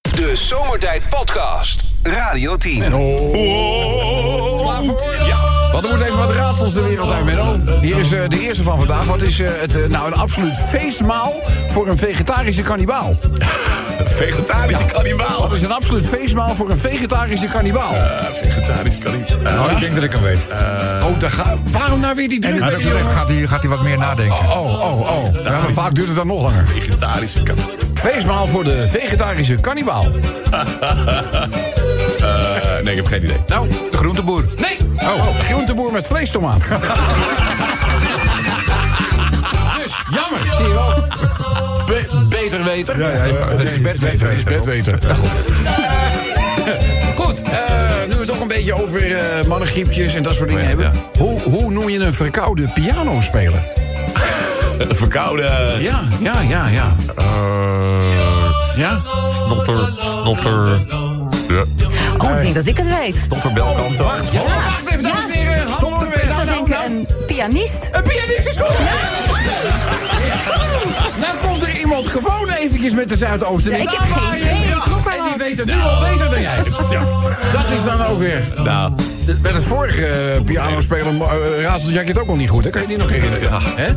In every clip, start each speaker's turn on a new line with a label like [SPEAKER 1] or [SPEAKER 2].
[SPEAKER 1] De Zomertijd Podcast. Radio 10.
[SPEAKER 2] Klaar voor? Want er moet even wat raadsels de wereld uit, Menno. Hier is eh, de eerste van vandaag. Wat is eh, het, eh, nou, een absoluut feestmaal voor een vegetarische kannibaal?
[SPEAKER 3] Vegetarische kannibaal.
[SPEAKER 2] Wat is een absoluut feestmaal voor een vegetarische kannibaal?
[SPEAKER 3] Vegetarische kannibaal.
[SPEAKER 4] Oh, ik denk dat ik hem weet.
[SPEAKER 2] oh, daar ga, waarom nou weer die druk?
[SPEAKER 4] Maar dat
[SPEAKER 2] weet je, hoor?
[SPEAKER 4] gaat, hij, gaat hij wat meer nadenken.
[SPEAKER 2] Oh, oh, oh. Ja, maar vaak duurt het dan nog langer.
[SPEAKER 3] vegetarische kannibaal.
[SPEAKER 2] Feestmaal voor de vegetarische kannibaal.
[SPEAKER 3] Eh, nee, ik heb geen idee.
[SPEAKER 2] Nou,
[SPEAKER 4] De groenteboer.
[SPEAKER 2] nee. Oh, groenteboer met vleestomaat. dus, jammer. Zie je wel. Be- beter weten.
[SPEAKER 4] dat is
[SPEAKER 2] Bedweter, is bedweter. Goed, eh, nu we het toch een beetje over eh, mannengriepjes en dat soort dingen
[SPEAKER 3] Ja,
[SPEAKER 2] hebben. Hoe, hoe noem je een verkoude pianospeler?
[SPEAKER 3] Verkouden.
[SPEAKER 2] Ja, ja, ja, ja.
[SPEAKER 3] Eh,
[SPEAKER 2] Ja?
[SPEAKER 3] Dokter. Dokter. Ja.
[SPEAKER 5] Oh, ik denk dat ik het weet.
[SPEAKER 3] Dokter Belkanto.
[SPEAKER 2] Ja, wacht even, dames en heren.
[SPEAKER 5] Stop
[SPEAKER 2] Hallo,
[SPEAKER 5] ik
[SPEAKER 2] nou,
[SPEAKER 5] zou
[SPEAKER 2] nou,
[SPEAKER 5] denken,
[SPEAKER 2] nou.
[SPEAKER 5] een pianist.
[SPEAKER 2] Een pianist is goed. Nou komt er iemand gewoon eventjes met de Zuidoosten. Nou, eh,
[SPEAKER 5] Ja, ik heb geen idee, ik roep maar
[SPEAKER 2] En die
[SPEAKER 5] wat.
[SPEAKER 2] weet het nu al beter dan jij. Dat is dan ook weer...
[SPEAKER 3] Nou,
[SPEAKER 2] Met het vorige eh, pianospeler uh, razelde Jack het ook al niet goed, hè? Kan je die nog herinneren?
[SPEAKER 3] Ja.
[SPEAKER 2] Hè?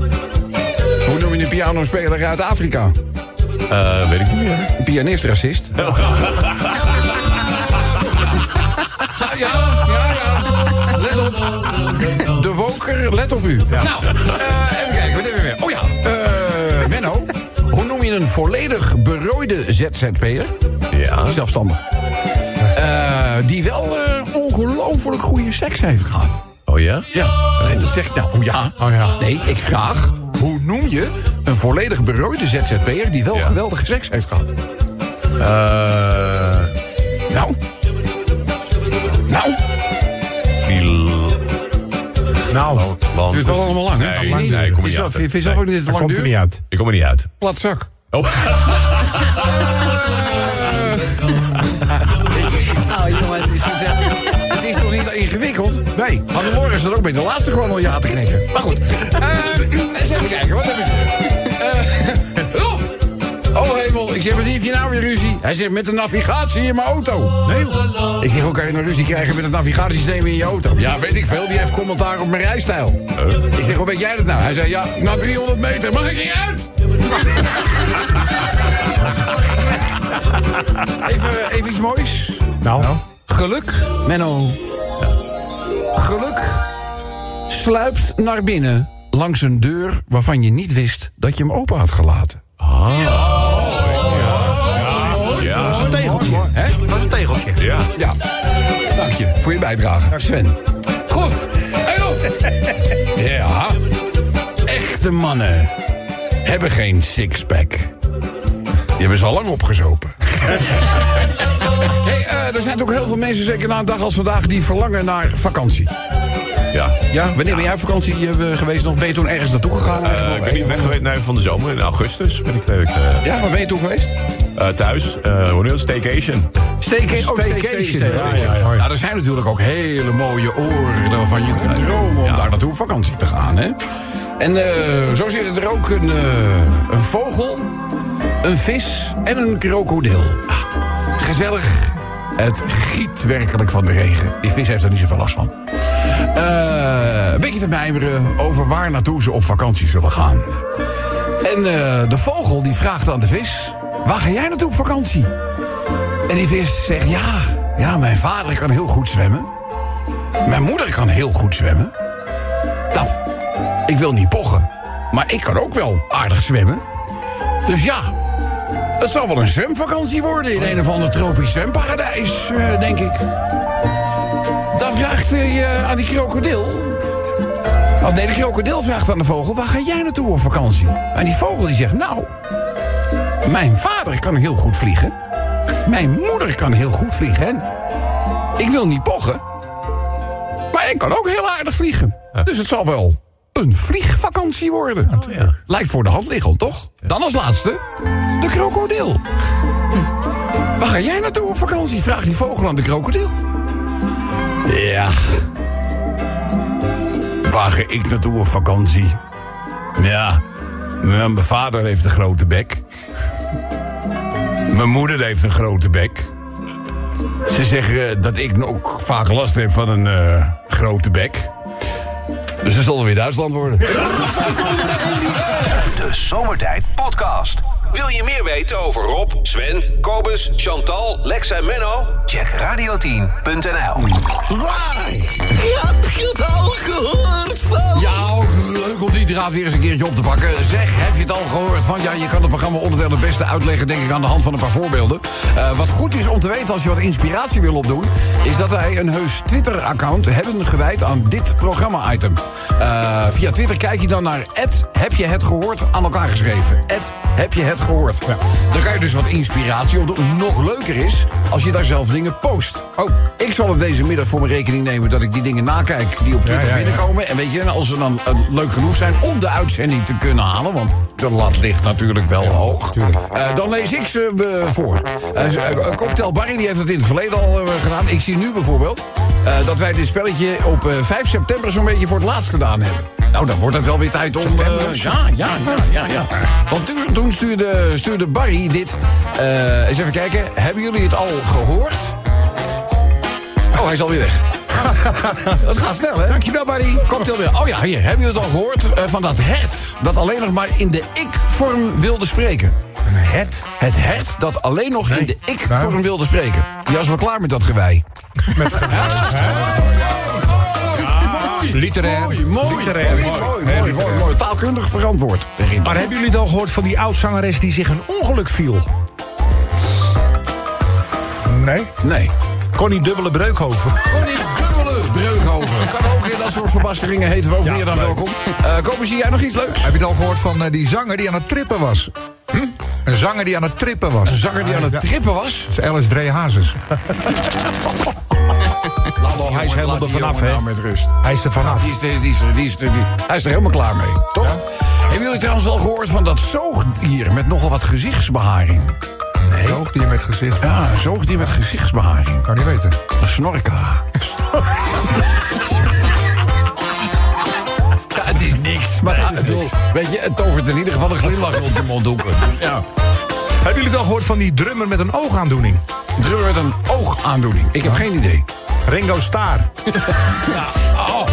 [SPEAKER 2] Hoe noem je een pianospeler uit Afrika?
[SPEAKER 3] eh, weet ik niet meer.
[SPEAKER 2] Een pianist-racist? ja, ja, ja. Let op. De woker, let op u. Nou, eh, even kijken, wat hebben we weer? Oh ja, eh, Menno. Hoe noem je een volledig berooide ZZP'er?
[SPEAKER 3] Ja.
[SPEAKER 2] Zelfstandig. Eh, die wel eh, ongelooflijk goede seks heeft gehad.
[SPEAKER 3] Oh ja?
[SPEAKER 2] Ja, nee, dat zegt nou, oh ja.
[SPEAKER 4] Oh ja.
[SPEAKER 2] Nee, ik vraag, hoe noem je een volledig berooide ZZP'er... die wel
[SPEAKER 3] Ja.
[SPEAKER 2] geweldige seks heeft gehad?
[SPEAKER 3] Eh.
[SPEAKER 2] Nou? Nou?
[SPEAKER 3] Viel.
[SPEAKER 4] Nou,
[SPEAKER 3] Want.
[SPEAKER 2] Duurt wel allemaal lang, hè?
[SPEAKER 3] Nee, nee, ik kom er
[SPEAKER 2] Is
[SPEAKER 3] niet
[SPEAKER 2] dat-
[SPEAKER 3] uit.
[SPEAKER 2] Vind je zelf
[SPEAKER 3] Nee,
[SPEAKER 2] ook niet dat het
[SPEAKER 4] daar
[SPEAKER 2] lang
[SPEAKER 4] komt er niet
[SPEAKER 2] duurt?
[SPEAKER 4] uit.
[SPEAKER 3] Ik kom er niet uit.
[SPEAKER 2] Plat zak.
[SPEAKER 3] Oh.
[SPEAKER 2] Nou,
[SPEAKER 5] Oh,
[SPEAKER 2] jongens. Het is toch niet ingewikkeld?
[SPEAKER 4] Nee.
[SPEAKER 2] Hannelore is er ook bij de laatste gewoon al ja te knikken. Maar goed. Eh, eens even kijken, wat hebben ze? Eh, Rob! Oh hemel, ik zeg, wat heb je nou weer ruzie? Hij zegt, met de navigatie in mijn auto. Nee. Ik zeg, hoe kan je nou ruzie krijgen met het navigatiesysteem in je auto? Ja, weet ik veel, die heeft commentaar op mijn rijstijl. Ik zeg, hoe weet jij dat nou? Hij zei, ja, na 300 meter mag ik eruit? even, even iets moois.
[SPEAKER 4] Nou,
[SPEAKER 2] Geluk, Menno. Geluk sluipt naar binnen langs een deur waarvan je niet wist dat je hem open had gelaten.
[SPEAKER 3] Ja.
[SPEAKER 4] dat is een tegeltje.
[SPEAKER 2] Hè?
[SPEAKER 4] Dat is een tegeltje.
[SPEAKER 3] Ja.
[SPEAKER 2] Ja. Dank je voor je bijdrage, Sven. Goed. En op. Ja. Echte mannen hebben geen sixpack. Die hebben ze al lang opgezopen. hey, eh, er zijn ook heel veel mensen, zeker na een dag als vandaag, die verlangen naar vakantie.
[SPEAKER 3] Ja.
[SPEAKER 2] Ja, wanneer ben jij op vakantie eh, geweest nog? Ben je toen ergens naartoe gegaan?
[SPEAKER 3] Eh, ik
[SPEAKER 2] eigenlijk?
[SPEAKER 3] ben niet weg geweest nee, van de zomer. In augustus ben ik twee weken eh,
[SPEAKER 2] Ja, waar ben je toen geweest?
[SPEAKER 3] eh, thuis. Eh, hoe noem je dat? Staycation.
[SPEAKER 2] Staycation. Oh,
[SPEAKER 4] Staycation.
[SPEAKER 2] staycation.
[SPEAKER 4] Ja, ja, ja.
[SPEAKER 2] Nou, er zijn natuurlijk ook hele mooie oren waarvan je kunt dromen om daar naartoe op vakantie te gaan. Hè? En eh, zo zit er ook een, eh, een vogel, een vis en een krokodil. Ah, Gezellig. Het giet werkelijk van de regen. Die vis heeft er niet zoveel last van. Eh, een beetje te mijmeren over waar naartoe ze op vakantie zullen gaan. En eh, de vogel die vraagt aan de vis... waar ga jij naartoe op vakantie? En die vis zegt, ja, ja, mijn vader kan heel goed zwemmen. Mijn moeder kan heel goed zwemmen. Nou, ik wil niet pochen. Maar ik kan ook wel aardig zwemmen. Dus ja, het zal wel een zwemvakantie worden... in een of ander tropisch zwemparadijs, eh, denk ik. Dan vraagt hij eh, aan die krokodil... Oh nee, de krokodil vraagt aan de vogel... waar ga jij naartoe op vakantie? En die vogel die zegt, nou... mijn vader kan heel goed vliegen... Mijn moeder kan heel goed vliegen. En ik wil niet pochen. Maar ik kan ook heel aardig vliegen. Dus het zal wel een vliegvakantie worden. Lijkt voor de hand liggend, toch? Dan als laatste de krokodil. Waar ga jij naartoe op vakantie? Vraagt die vogel aan de krokodil. Ja. Waar ga ik naartoe op vakantie? Ja, mijn vader heeft een grote bek. Mijn moeder heeft een grote bek. Ze zeggen eh, dat ik ook vaak last heb van een eh, grote bek. Dus ze zullen weer Duitsland worden.
[SPEAKER 1] De Zomertijd Podcast. Wil je meer weten over Rob, Sven, Kobus, Chantal, Lex en Menno? Check radio10.nl.
[SPEAKER 2] Ja, ook leuk om die draad weer eens een keertje op te pakken. Zeg, heb je het al gehoord van... ja, je kan het programma onderdeel het beste uitleggen... denk ik aan de hand van een paar voorbeelden. Eh, wat goed is om te weten als je wat inspiratie wil opdoen... is dat wij een heus Twitter-account hebben gewijd aan dit programma-item. Eh, via Twitter kijk je dan naar... heb je het gehoord aan elkaar geschreven. heb je het gehoord. Dan kan je dus wat inspiratie opdoen. Nog leuker is als je daar zelf dingen post. Oh, ik zal het deze middag voor mijn rekening nemen... dat ik die dingen nakijk die op Twitter
[SPEAKER 4] ja, ja.
[SPEAKER 2] binnenkomen komen. En weet je, en als ze dan eh, leuk genoeg zijn om de uitzending te kunnen halen... want de lat ligt natuurlijk wel hoog. eh, dan lees ik ze eh, voor. Eh, ze- eh, Cocktail Barry die heeft het in het verleden al eh, gedaan. Ik zie nu bijvoorbeeld eh, dat wij dit spelletje op eh, 5 september... zo'n beetje voor het laatst gedaan hebben. Nou, dan wordt het wel weer tijd om... eh, ja, ja, ja, ja, ja. Want toen, toen stuurde, stuurde Barry dit... eh, eens even kijken, hebben jullie het al gehoord? Oh, hij is alweer weg. Dat gaat snel, hè? Dankjewel, Barry. Cocktail weer. Oh ja, hier. Hebben jullie het al gehoord eh, van dat hert... dat alleen nog maar in de ik-vorm wilde spreken?
[SPEAKER 4] Een het
[SPEAKER 2] Het hert dat alleen nog in de ik-vorm
[SPEAKER 4] waarom?
[SPEAKER 2] wilde spreken. Ja, is wel klaar met dat gewei.
[SPEAKER 4] met geweld. Literair.
[SPEAKER 2] Mooi, mooi,
[SPEAKER 4] Literair,
[SPEAKER 2] mooi, Ah.
[SPEAKER 4] mooi.
[SPEAKER 2] mooi,
[SPEAKER 4] Heel
[SPEAKER 2] mooi,
[SPEAKER 4] literair.
[SPEAKER 2] mooi. Taalkundig verantwoord. Erin.
[SPEAKER 6] Maar hebben jullie het al gehoord van die oud-zangeres die zich een ongeluk viel?
[SPEAKER 4] Nee.
[SPEAKER 2] Nee.
[SPEAKER 4] Connie Dubbele Breukhoven.
[SPEAKER 2] Connie Dubbele Breukhoven. Kan ook in dat soort verbasteringen heten we ook meer dan welkom. Eh Kopen, zie jij nog iets leuks?
[SPEAKER 4] Heb je het al gehoord van eh, die zanger die aan het trippen was?
[SPEAKER 2] Hm?
[SPEAKER 4] Een zanger die aan het trippen was.
[SPEAKER 2] Een zanger die aan het trippen was.
[SPEAKER 4] Dat is Alice Drehazes.
[SPEAKER 2] hij is helemaal er vanaf,
[SPEAKER 3] nou
[SPEAKER 2] hè? met rust.
[SPEAKER 4] Hij Nou, is er vanaf.
[SPEAKER 2] Die is, die, is, die is, die, hij is er helemaal klaar mee, toch? Hebben jullie trouwens al gehoord van dat zoogdier met nogal wat gezichtsbeharing?
[SPEAKER 4] Een Hoogdier met gezicht.
[SPEAKER 2] Ja, een zoogdier met gezichtsbeharing.
[SPEAKER 4] Kan niet weten.
[SPEAKER 2] Een snorka. Ja, het is niks. Maar ja, ik bedoel, weet je, het tovert in ieder geval een glimlach rond je mondhoeken. Ja.
[SPEAKER 6] Hebben jullie het al gehoord van die drummer met een oogaandoening?
[SPEAKER 2] Drummer met een oogaandoening. Ik heb geen idee.
[SPEAKER 6] Ringo Starr.
[SPEAKER 2] Oh,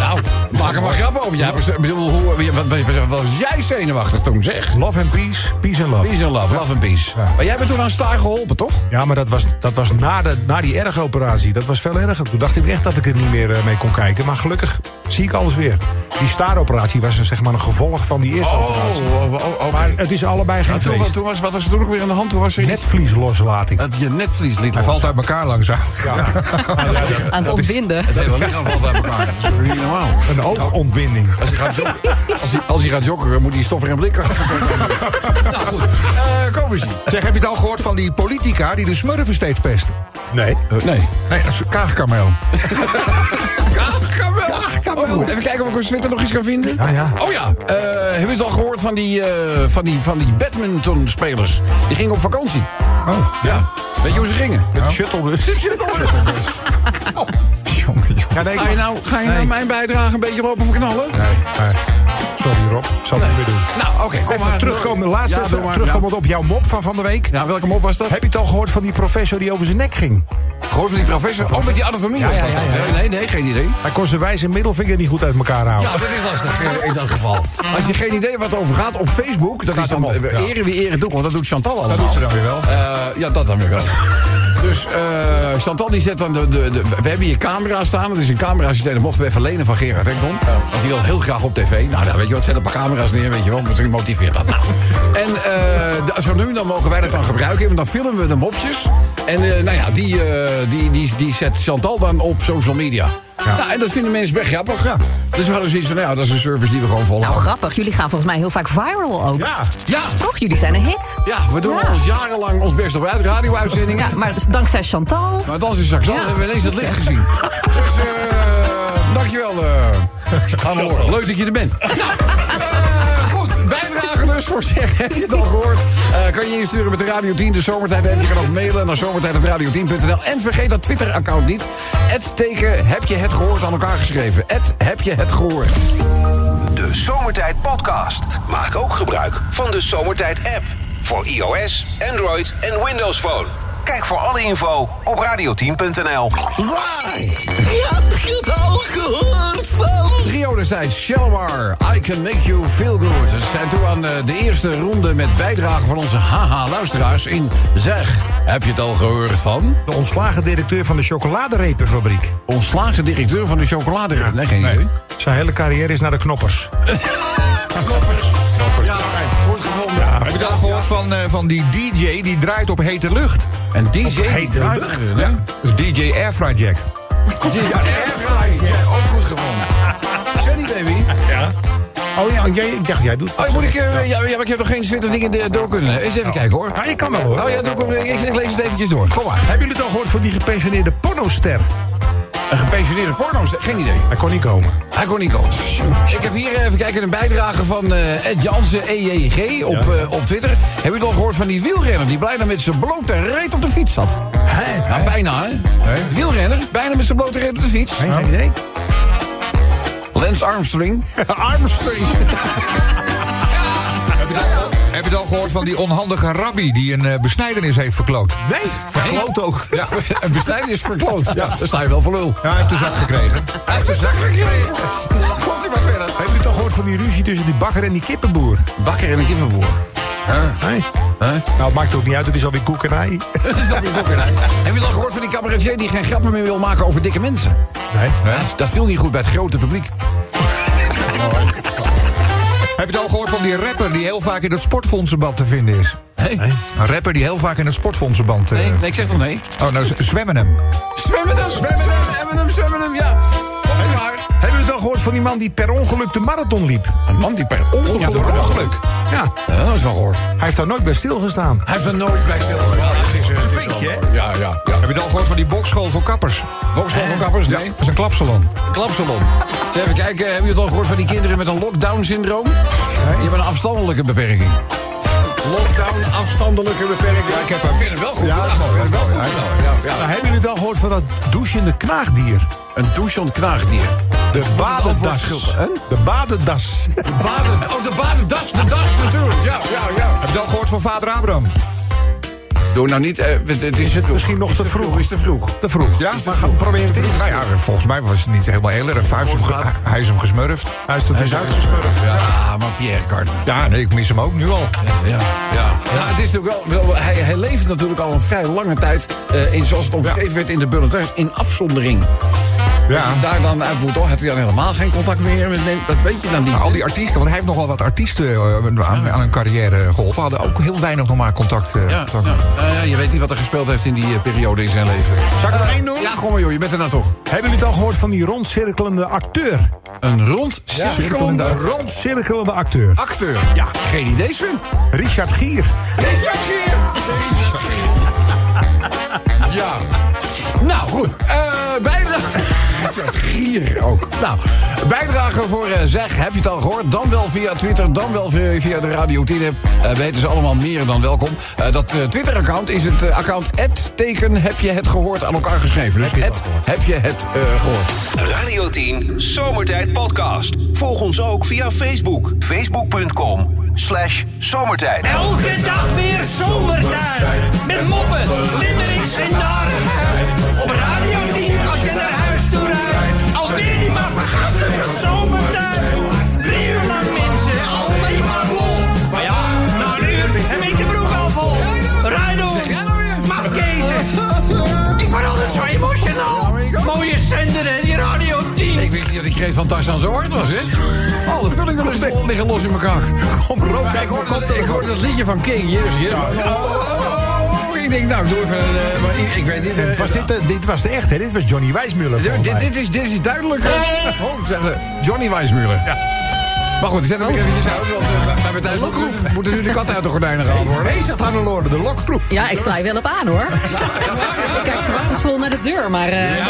[SPEAKER 2] nou, maak er maar grap over. Ja, ik bedoel, hoe, wat, wat- wat- wat was jij zenuwachtig toen, zeg?
[SPEAKER 6] Love and Peace, Peace and Love.
[SPEAKER 2] Peace and love, love and peace.
[SPEAKER 6] Ja.
[SPEAKER 2] Maar jij bent toen aan Staar geholpen, toch?
[SPEAKER 6] Ja, maar dat was, dat was na, de, na die erge operatie. Dat was veel erger. Toen dacht ik echt dat ik er niet meer eh, mee kon kijken. Maar gelukkig zie ik alles weer. Die Starr-operatie was een, zeg maar een gevolg van die eerste operatie.
[SPEAKER 2] oh, oh, oké.
[SPEAKER 6] Maar het is allebei geen
[SPEAKER 2] Maar toen,
[SPEAKER 6] feest.
[SPEAKER 2] toen was, wat was er toen ook weer aan de hand? Toen was er iets-
[SPEAKER 6] Netvliesloslating.
[SPEAKER 2] Het, je netvlies liet
[SPEAKER 4] Hij
[SPEAKER 2] los.
[SPEAKER 4] valt uit elkaar langzaam.
[SPEAKER 5] Aan het ontbinden.
[SPEAKER 2] Het hele lichaam valt uit elkaar. Dat is natuurlijk niet normaal.
[SPEAKER 6] Een oogontbinding.
[SPEAKER 2] Als hij gaat joggen, als hij, als hij gaat joggen moet hij stoffer en blikken. nou goed, Eh kom eens hier.
[SPEAKER 4] Zeg, heb je het al gehoord van die politica die de smurfen steeds pest?
[SPEAKER 6] Nee.
[SPEAKER 2] Eh, nee.
[SPEAKER 4] Nee, dat is kaagkameel.
[SPEAKER 2] Oh, goed. Even kijken of ik op Twitter nog iets kan vinden.
[SPEAKER 6] Ja, ja.
[SPEAKER 2] Oh ja, eh, hebben jullie het al gehoord van die, eh, van die, van die badmintonspelers? Die gingen op vakantie.
[SPEAKER 4] Oh,
[SPEAKER 2] Ja. Weet je hoe ze gingen?
[SPEAKER 6] Met shuttlebus.
[SPEAKER 2] Oh.
[SPEAKER 4] jongen, jongen.
[SPEAKER 6] Ja, nee, ik
[SPEAKER 2] Ga je
[SPEAKER 6] mag-
[SPEAKER 2] nou, ga je nou mijn bijdrage een beetje lopen verknallen?
[SPEAKER 6] Nee, nee. Sorry Rob, ik zal het niet meer doen.
[SPEAKER 2] Nou, oké, kom
[SPEAKER 6] Even
[SPEAKER 2] maar.
[SPEAKER 6] terugkomen, laatst
[SPEAKER 2] Ja, doe
[SPEAKER 6] even
[SPEAKER 2] maar,
[SPEAKER 6] terugkomend op jouw mop van van de week.
[SPEAKER 2] Ja, welke mop was dat?
[SPEAKER 6] Heb je het al gehoord van die professor die over zijn nek ging?
[SPEAKER 2] Gewoon van die professor. Oh, met die anatomie. was
[SPEAKER 6] ja,
[SPEAKER 2] dat
[SPEAKER 6] ja,
[SPEAKER 2] het,
[SPEAKER 6] ja.
[SPEAKER 2] hè? Nee, nee, geen idee.
[SPEAKER 6] Hij kon zijn wijs en middelvinger niet goed uit elkaar houden.
[SPEAKER 2] Ja, dat is lastig eh, in dat geval. Als je geen idee wat er over gaat, op Facebook, dat is dan
[SPEAKER 6] hem op,
[SPEAKER 2] eh,
[SPEAKER 6] ja.
[SPEAKER 2] eren wie eren doet, want dat doet Chantal allemaal.
[SPEAKER 4] doet ze dan weer wel.
[SPEAKER 2] Eh, ja, dat dan weer wel. Dus eh, Chantal die zet dan de, de, de- We hebben hier camera staan. Het is een camerasysteem. Dat mochten we even lenen van Gerard Ekdom. Want die wil heel graag op tv. Nou, dan weet je wat, zet een paar camera's neer, weet je wel. Misschien motiveert dat nou. En eh, de- zo nu en dan mogen wij dat dan gebruiken. Want dan filmen we de mopjes. En eh, nou ja, die, eh, die, die, die zet Chantal dan op social media. Nou, en dat vinden mensen best grappig. Dus we hadden zoiets van, nou ja, dat is een service die we gewoon volgen.
[SPEAKER 5] Nou, grappig. Jullie gaan volgens mij heel vaak viral ook.
[SPEAKER 6] Ja,
[SPEAKER 2] ja,
[SPEAKER 5] Toch? Jullie zijn een hit.
[SPEAKER 2] ja, we doen
[SPEAKER 5] Ja.
[SPEAKER 2] ons jarenlang ons best op uit, radio-uitzendingen.
[SPEAKER 5] Ja, maar dat is dankzij Chantal.
[SPEAKER 2] Maar dat is straks al.
[SPEAKER 5] Ja.
[SPEAKER 2] Hebben we ineens het licht gezien. Dus, eh dankjewel, eh Anne Hoor. Leuk dat je er bent. Nou, eh, goed, bijdrage dus voor zeg. Heb je het al gehoord? Eh, kan je insturen met de Radio 10, de zomertijd. En je kan ook mailen naar zomertijd.radio10.nl. En vergeet dat Twitter-account niet. Het teken heb je het gehoord aan elkaar geschreven. Het heb je het gehoord.
[SPEAKER 1] De Zomertijd Podcast. Maak ook gebruik van de Zomertijd app. voor iOS, Android en Windows Phone. Kijk voor alle info op radioteam.nl.
[SPEAKER 2] Trio destijds, Shalomar, I Can Make You Feel Good. Ze zijn toe aan eh, de eerste ronde met bijdragen van onze haha-luisteraars in Zeg. Heb je het al gehoord van?
[SPEAKER 6] De ontslagen directeur van de chocoladerepenfabriek.
[SPEAKER 2] Ontslagen directeur van de chocolade. nee, geen idee.
[SPEAKER 6] Zijn hele carrière is naar de knoppers.
[SPEAKER 2] Knoppers. Knoppers. Ja, goed gevonden.
[SPEAKER 4] Heb je dat al gehoord van, eh, van die DJ die draait op hete lucht?
[SPEAKER 2] En DJ...
[SPEAKER 4] hete
[SPEAKER 2] draait
[SPEAKER 4] lucht.
[SPEAKER 2] erin, hè?
[SPEAKER 4] Dus DJ Airfry Jack.
[SPEAKER 2] Ja, airfryer. Ja, ook goed gevonden. Svenny, baby.
[SPEAKER 6] Oh ja, jij, ik dacht jij doet
[SPEAKER 2] Oh,
[SPEAKER 6] vast.
[SPEAKER 2] moet ik... eh, ja, ja, maar ik heb nog geen 20 dingen eh, door kunnen. Eens even kijken, hoor.
[SPEAKER 6] Ah, ik kan wel hoor.
[SPEAKER 2] Oh ja, doe ik, hem- ik, ik lees het eventjes door. Kom maar.
[SPEAKER 6] Hebben jullie het al gehoord van die gepensioneerde pornoster?
[SPEAKER 2] Een gepensioneerde porno's, geen idee.
[SPEAKER 6] Hij kon niet komen.
[SPEAKER 2] Hij kon niet komen. Ik heb hier eh, even kijken een bijdrage van eh, Ed Jansen, EJG, op, eh, op Twitter. Heb je het al gehoord van die wielrenner die bijna met zijn blote reet op de fiets zat? Ja, bijna, hè? Wielrenner, bijna met zijn blote reet op de fiets.
[SPEAKER 6] Geen geen idee?
[SPEAKER 2] Lance Armstrong.
[SPEAKER 6] Armstrong.
[SPEAKER 4] Heb je het al gehoord van die onhandige rabbi die een eh, besnijdenis heeft verkloot?
[SPEAKER 6] Nee.
[SPEAKER 4] Verkloot ook. Ja.
[SPEAKER 2] Een bestrijding is verkloot. Ja, daar sta je wel voor lul.
[SPEAKER 4] Ja, hij heeft de zak gekregen.
[SPEAKER 2] Hij heeft een zak gekregen. Dan komt hij maar verder.
[SPEAKER 6] Hebben jullie het al gehoord van die ruzie tussen die bakker en die kippenboer?
[SPEAKER 2] Bakker en een kippenboer.
[SPEAKER 6] Nee.
[SPEAKER 2] Huh?
[SPEAKER 6] Nou, het maakt ook niet uit, het is alweer koekenij.
[SPEAKER 2] Dat is alweer bakker. hè? Heb je het al gehoord van die cabaretier die geen grappen meer wil maken over dikke mensen?
[SPEAKER 6] Nee.
[SPEAKER 2] Dat- Dat viel niet goed bij het grote publiek.
[SPEAKER 4] Heb je het al gehoord van die rapper die heel vaak in het sportfondsenbad te vinden is?
[SPEAKER 2] Hé?
[SPEAKER 4] Een rapper die heel vaak in het sportfondsenbad... eh,
[SPEAKER 2] Nee, nee, ik zeg nog nee.
[SPEAKER 4] Oh, nou, z- zwemmen hem.
[SPEAKER 2] Zwemmen hem, zwemmen hem, zwemmen hem, zwemmen hem, ja. Komt maar.
[SPEAKER 6] Hebben jullie het al gehoord van die man die per ongeluk de marathon liep?
[SPEAKER 2] Een man die per ongeluk...
[SPEAKER 6] Ja, per ongeluk. Ja,
[SPEAKER 2] Ja, dat is wel gehoord.
[SPEAKER 6] hij heeft daar nooit bij stilgestaan.
[SPEAKER 2] Hij heeft er nooit bij stilgestaan.
[SPEAKER 6] Een vinkje, hè?
[SPEAKER 2] Ja, ja, ja.
[SPEAKER 4] Heb je het al gehoord van die bokschool voor kappers?
[SPEAKER 2] Boksvogelkappers,
[SPEAKER 4] Ja,
[SPEAKER 2] nee.
[SPEAKER 4] dat is een klapsalon.
[SPEAKER 2] Klapsalon. Dus Even kijken, hebben jullie het al gehoord van die kinderen met een lockdown-syndroom? Die hebben een afstandelijke beperking. Lockdown, afstandelijke beperking. Ja, ik heb vind het wel goed. Ja, ik vind het wel goed. Ja, ja.
[SPEAKER 6] Nou, hebben jullie het al gehoord van dat douchende knaagdier?
[SPEAKER 2] Een douchend knaagdier.
[SPEAKER 6] De
[SPEAKER 2] antwoord
[SPEAKER 6] badendas.
[SPEAKER 2] schulpen, hè?
[SPEAKER 6] De badendas.
[SPEAKER 2] De baden, oh, de badendas, de das natuurlijk. Ja, ja, ja.
[SPEAKER 4] Heb je het al gehoord van vader Abraham?
[SPEAKER 2] Doe nou niet, eh, het, het is, te vroeg.
[SPEAKER 6] misschien nog
[SPEAKER 2] Is
[SPEAKER 6] te vroeg?
[SPEAKER 2] Is te vroeg.
[SPEAKER 4] Te vroeg. Ja,
[SPEAKER 6] Is te
[SPEAKER 4] maar ga-
[SPEAKER 6] vroeg.
[SPEAKER 4] probeer het eens. Nou ja, volgens mij was het niet helemaal heel erg. Hij is hem, ge- hij is hem gesmurfd.
[SPEAKER 6] Hij is er dus uitgesmurfd.
[SPEAKER 2] Ja, maar Pierre Cardin.
[SPEAKER 4] Ja, nee, ik mis hem ook nu al.
[SPEAKER 2] Ja, ja. Nou, het is natuurlijk wel, wel- hij, hij leeft natuurlijk al een vrij lange tijd, eh, in, zoals het omschreven werd in de bulletins, in afzondering.
[SPEAKER 4] Ja.
[SPEAKER 2] En daar dan uit moet, oh, had hij dan helemaal geen contact meer met mensen? Dat weet je dan niet.
[SPEAKER 4] Nou, Al die artiesten, want hij heeft nogal wat artiesten eh, aan, aan hun carrière geholpen. Hadden ook heel weinig nog maar contact. eh,
[SPEAKER 2] ja, ja,
[SPEAKER 4] contact.
[SPEAKER 2] Nou ja, je weet niet wat er gespeeld heeft in die eh, periode in zijn leven. Eh,
[SPEAKER 6] Zal ik er nog één doen?
[SPEAKER 2] Ja, kom maar joh, je bent er nou toch.
[SPEAKER 6] Hebben jullie het al gehoord van die rondcirkelende acteur?
[SPEAKER 2] Een rond cirkelende
[SPEAKER 6] Cirkelende, rondcirkelende acteur.
[SPEAKER 4] Ah.
[SPEAKER 2] acteur. Ja, geen idee, Sven.
[SPEAKER 6] Richard Gier.
[SPEAKER 2] Ja. Nou, goed. Eh bijdrage... Gier ook. Nou, bijdrage voor eh, Zeg, heb je het al gehoord? Dan wel via Twitter, dan wel via, via de Radio 10 app. Eh, weten ze allemaal meer dan welkom. Eh, dat eh, Twitter-account is het eh, account... teken heb je het gehoord aan elkaar geschreven. Dus
[SPEAKER 6] Heb je het
[SPEAKER 2] het
[SPEAKER 6] al gehoord?
[SPEAKER 2] heb je het eh, gehoord.
[SPEAKER 1] Radio 10 Zomertijd Podcast. Volg ons ook via Facebook. Facebook.com slash zomertijd.
[SPEAKER 7] Elke dag weer zomertijd. Met moppen, limmerings en narigheid. Op Radio 10 als je naar huis toe rijdt. Alweer die maar vergaande zomertijd. Drie uur lang mensen, alleen maar lol. Maar ja, na een uur heb ik de broek al vol. Rijdel,
[SPEAKER 8] nou
[SPEAKER 7] mafkezen. Ik word altijd zo emotional. Mooie zender en die Radio 10.
[SPEAKER 2] Ik weet niet dat ik kreeg van Tarzan zo hard was, hè? Al de vullingen liggen- liggen los in elkaar. Kom, Rob, ik hoorde, dat, ik hoorde dat liedje van King, Years, Years. Oh, oh, oh, ik denk, nou, ik doe even... een, eh, maar ik, ik weet niet... eh,
[SPEAKER 6] Was dit, de- dit was de echte, hè? Dit was Johnny Wijsmuller.
[SPEAKER 2] dit,
[SPEAKER 6] volgens
[SPEAKER 2] dit,
[SPEAKER 6] mij.
[SPEAKER 2] dit is, dit is duidelijker. Oh, zeg, eh, Johnny Weissmuller. Maar goed, ik zet hem weer eventjes uit, want eh, wij- wij hebben thuis moeten- moeten nu de kat uit de gordijnen gehaald worden.
[SPEAKER 6] Nee, zegt Hannelore, de lokproep.
[SPEAKER 5] Ja, ik sla je wel op aan hoor. Ik kijk verwachtingsvol naar de deur, maar... eh,
[SPEAKER 2] Ja,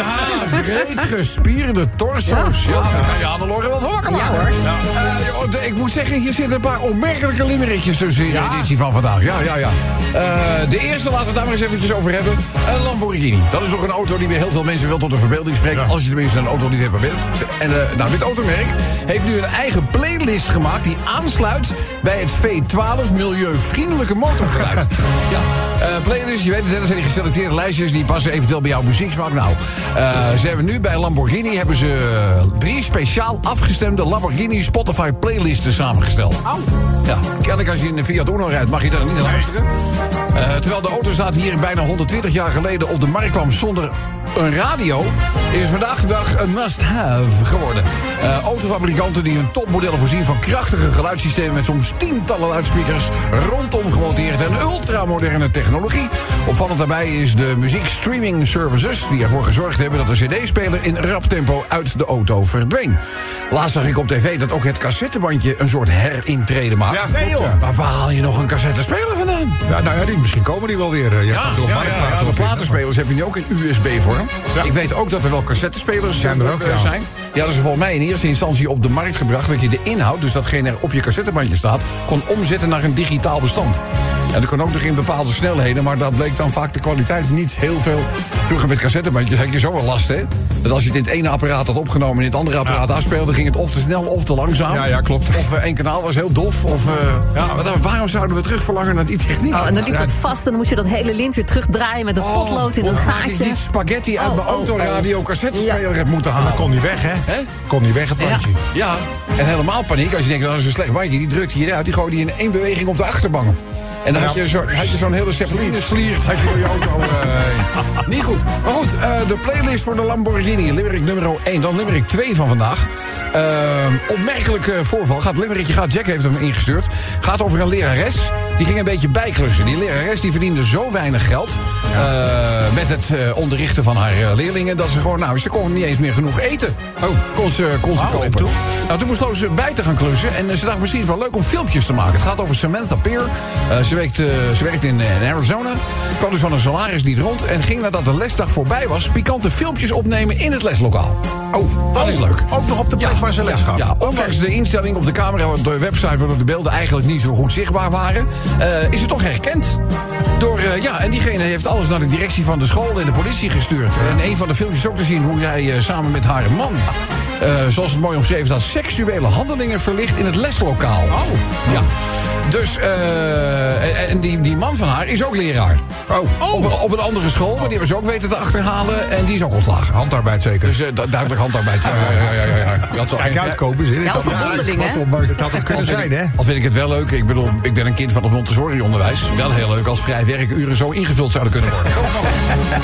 [SPEAKER 2] breed gespierde torso's. Ja, daar kan je Hannelore wel van wakker maken.
[SPEAKER 5] Ja, hoor.
[SPEAKER 2] Eh, joh, de- ik moet zeggen, hier zitten een paar opmerkelijke limmerikjes tussen in de editie van vandaag. Ja, ja, ja. Eh, de eerste, laten we het daar maar eens eventjes over hebben. Een Lamborghini. Dat is toch een auto die bij heel veel mensen wel tot de verbeelding spreekt. Als je tenminste een auto niet hebt bent. En eh nou, dit automerk heeft nu een eigen playlist playlist gemaakt die aansluit bij het V12 milieuvriendelijke motorgeluid. ja, eh, playlist, je weet het, hè, dat zijn die geselecteerde lijstjes die passen eventueel bij jouw muzieksmaak. Nou, eh, ze hebben nu bij Lamborghini hebben ze eh, drie speciaal afgestemde Lamborghini Spotify playlisten samengesteld. Ja, kennelijk als je in de Fiat Uno rijdt, mag je daar niet naar luisteren. Eh, terwijl de autostaat hier bijna 120 jaar geleden op de markt kwam zonder een radio, is vandaag de dag een must-have geworden. Eh, autofabrikanten die hun topmodellen voorzien van krachtige geluidssystemen met soms tientallen luidsprekers rondom gemonteerd en ultramoderne technologie. Opvallend daarbij is de muziekstreaming services die ervoor gezorgd hebben dat de CD-speler in rap tempo uit de auto verdween. Laatst zag ik op tv dat ook het cassettebandje een soort herintrede maakt.
[SPEAKER 4] Ja, nee, joh.
[SPEAKER 2] Maar waar haal je nog een cassettespeler vandaan?
[SPEAKER 4] Ja, nou ja, die, misschien komen die wel weer. eh, Je gaat er op marktplaats
[SPEAKER 2] de
[SPEAKER 4] op vinden.
[SPEAKER 2] platenspelers heb je nu ook in USB-vorm. Ik weet ook dat er wel cassettespelers
[SPEAKER 6] Zijn er ook,
[SPEAKER 2] eh,
[SPEAKER 6] ja.
[SPEAKER 2] zijn. Ja, dat is volgens mij in eerste instantie op de markt gebracht... dat je de inhoud, dus datgene er op je cassettebandje staat... kon omzetten naar een digitaal bestand. En dat kon ook nog in bepaalde snelheden... maar dat bleek dan vaak de kwaliteit niet heel veel. Vroeger met cassettebandjes had je zo wel last, hè? Dat als je het in het ene apparaat had opgenomen... en in het andere apparaat afspeelde... ging het of te snel of te langzaam.
[SPEAKER 4] Ja, ja, klopt.
[SPEAKER 2] Of eh, één kanaal was heel dof. Of, eh, maar dan- waarom zouden we terug verlangen naar die techniek?
[SPEAKER 5] Oh, en dan liep dat vast en dan moest je dat hele lint weer terugdraaien met een potlood in
[SPEAKER 2] hoe
[SPEAKER 5] een
[SPEAKER 2] vaak Oh, ik
[SPEAKER 5] gaatje.
[SPEAKER 2] dit spaghetti uit
[SPEAKER 5] Oh,
[SPEAKER 2] mijn
[SPEAKER 5] oh,
[SPEAKER 2] autoradio
[SPEAKER 5] oh.
[SPEAKER 2] cassettespeler heb moeten halen.
[SPEAKER 6] Kon niet weg, hè?
[SPEAKER 2] Hè?
[SPEAKER 6] Kon niet weg, het bandje.
[SPEAKER 2] Ja, en helemaal paniek als je denkt, dat is een slecht bandje. Die drukte je eruit, die gooide je in één beweging op de achterbank. En dan had je zo- had je zo'n hele zeppelin sliert had je door je auto. eh, niet goed. Maar goed, eh, de playlist voor de Lamborghini. Limerick nummer 1, dan Limerick 2 van vandaag. Eh, opmerkelijk eh, voorval. Gaat Limerickje, gaat Jack heeft hem ingestuurd. Gaat over een lerares. Die ging een beetje bijklussen. Die lerares die verdiende zo weinig geld... eh, met het eh, onderrichten van haar eh, leerlingen... dat ze gewoon, nou, ze kon niet eens meer genoeg eten. Oh, kon ze, kon ze
[SPEAKER 6] Oh, en
[SPEAKER 2] kopen.
[SPEAKER 6] toen?
[SPEAKER 2] Nou, toen moest ze bij te gaan klussen. En eh, ze dacht misschien wel leuk om filmpjes te maken. Het gaat over Samantha Peer. Eh, ze, werkt, eh, ze werkt in, eh, in Arizona. Kwam dus van een salaris niet rond. En ging nadat de lesdag voorbij was. pikante filmpjes opnemen in het leslokaal. Oh, dat is leuk.
[SPEAKER 6] Ook nog op de plek waar ze les
[SPEAKER 2] Ja,
[SPEAKER 6] gaf.
[SPEAKER 2] ja, ondanks de instelling op de camera en de website... waardoor de beelden eigenlijk niet zo goed zichtbaar waren... eh, is het toch herkend. Door, eh, ja, en diegene heeft alles naar de directie van de school en de politie gestuurd. En een van de filmpjes ook te zien hoe jij eh, samen met haar man... eh, zoals het mooi omschreven staat, seksuele handelingen verlicht in het leslokaal. Oh. Ja. Dus, eh, en- en die, die man van haar is ook leraar. Oh. Op, een- op een andere school, maar die hebben ze ook weten te achterhalen. En die is ook ontslagen.
[SPEAKER 4] Handarbeid zeker.
[SPEAKER 2] Dus eh, du- duidelijk handarbeid. Ja, ja, ja. ja, ja. Je had zo
[SPEAKER 6] Kijk
[SPEAKER 2] geen-
[SPEAKER 6] uit, Kobus. hè? Dit
[SPEAKER 5] Ja,
[SPEAKER 6] had-
[SPEAKER 5] of een bondeling,
[SPEAKER 6] het was
[SPEAKER 5] hè?
[SPEAKER 6] op markt. Het had hem kunnen
[SPEAKER 2] Al
[SPEAKER 6] zijn,
[SPEAKER 2] vind ik-
[SPEAKER 6] hè?
[SPEAKER 2] Al vind ik het wel leuk. Ik bedoel, ik ben een kind van het Montessori-onderwijs. Wel heel leuk als vrij werkuren zo ingevuld zouden kunnen worden.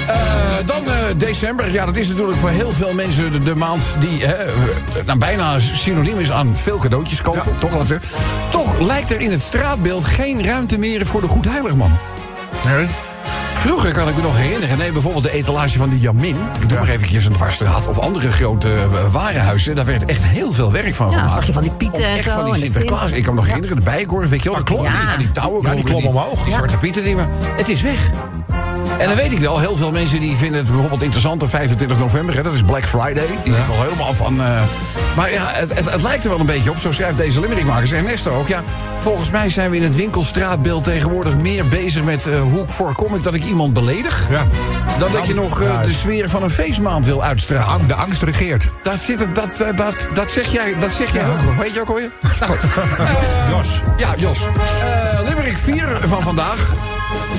[SPEAKER 2] Eh, dan eh, december. Ja, dat is natuurlijk voor heel veel mensen de, de maand die hè, eh, nou, bijna synoniem is aan veel cadeautjes kopen. Toch, laten we- toch lijkt er in het straatbeeld geen ruimte meer voor de Goedheiligman. Vroeger kan ik me nog herinneren. Nee, bijvoorbeeld de etalage van die Jamin. Ik doe maar eventjes een dwarsstraat. Of andere grote eh, warenhuizen. Daar werd echt heel veel werk van
[SPEAKER 5] Ja,
[SPEAKER 2] gemaakt.
[SPEAKER 5] zag je van die pieten
[SPEAKER 2] Om
[SPEAKER 5] en
[SPEAKER 2] echt
[SPEAKER 5] zo
[SPEAKER 2] van die
[SPEAKER 5] en de
[SPEAKER 2] Sinterklaas.
[SPEAKER 5] Sint.
[SPEAKER 2] Ik kan me nog herinneren. De bijenkorf, weet je wel. De klompen,
[SPEAKER 5] klopt.
[SPEAKER 2] en die touwen.
[SPEAKER 6] Ah, Ja, die
[SPEAKER 2] klompen,
[SPEAKER 6] klom omhoog.
[SPEAKER 2] Die
[SPEAKER 6] Ja.
[SPEAKER 2] zwarte pieten dingen. Het is weg. En dan weet ik wel, heel veel mensen die vinden het bijvoorbeeld interessant... op 25 november, hè, dat is Black Friday. Die zit al helemaal van... eh, maar ja, het, het, het lijkt er wel een beetje op, zo schrijft deze limmerikmaker. Zegt Nestor ook, ja, volgens mij zijn we in het winkelstraatbeeld... tegenwoordig meer bezig met eh, hoe voorkom ik dat ik iemand beledig...
[SPEAKER 6] Ja. Nou,
[SPEAKER 2] dan dat je nog eh, de sfeer van een feestmaand wil uitstralen.
[SPEAKER 4] Ang- De angst regeert.
[SPEAKER 2] Dat, zit, het- dat, eh, dat, dat zeg jij, dat zeg jij ook. Hoe heet je ook alweer? Goed. Eh,
[SPEAKER 6] Jos.
[SPEAKER 2] Ja, Jos. Eh Limerick 4 van vandaag.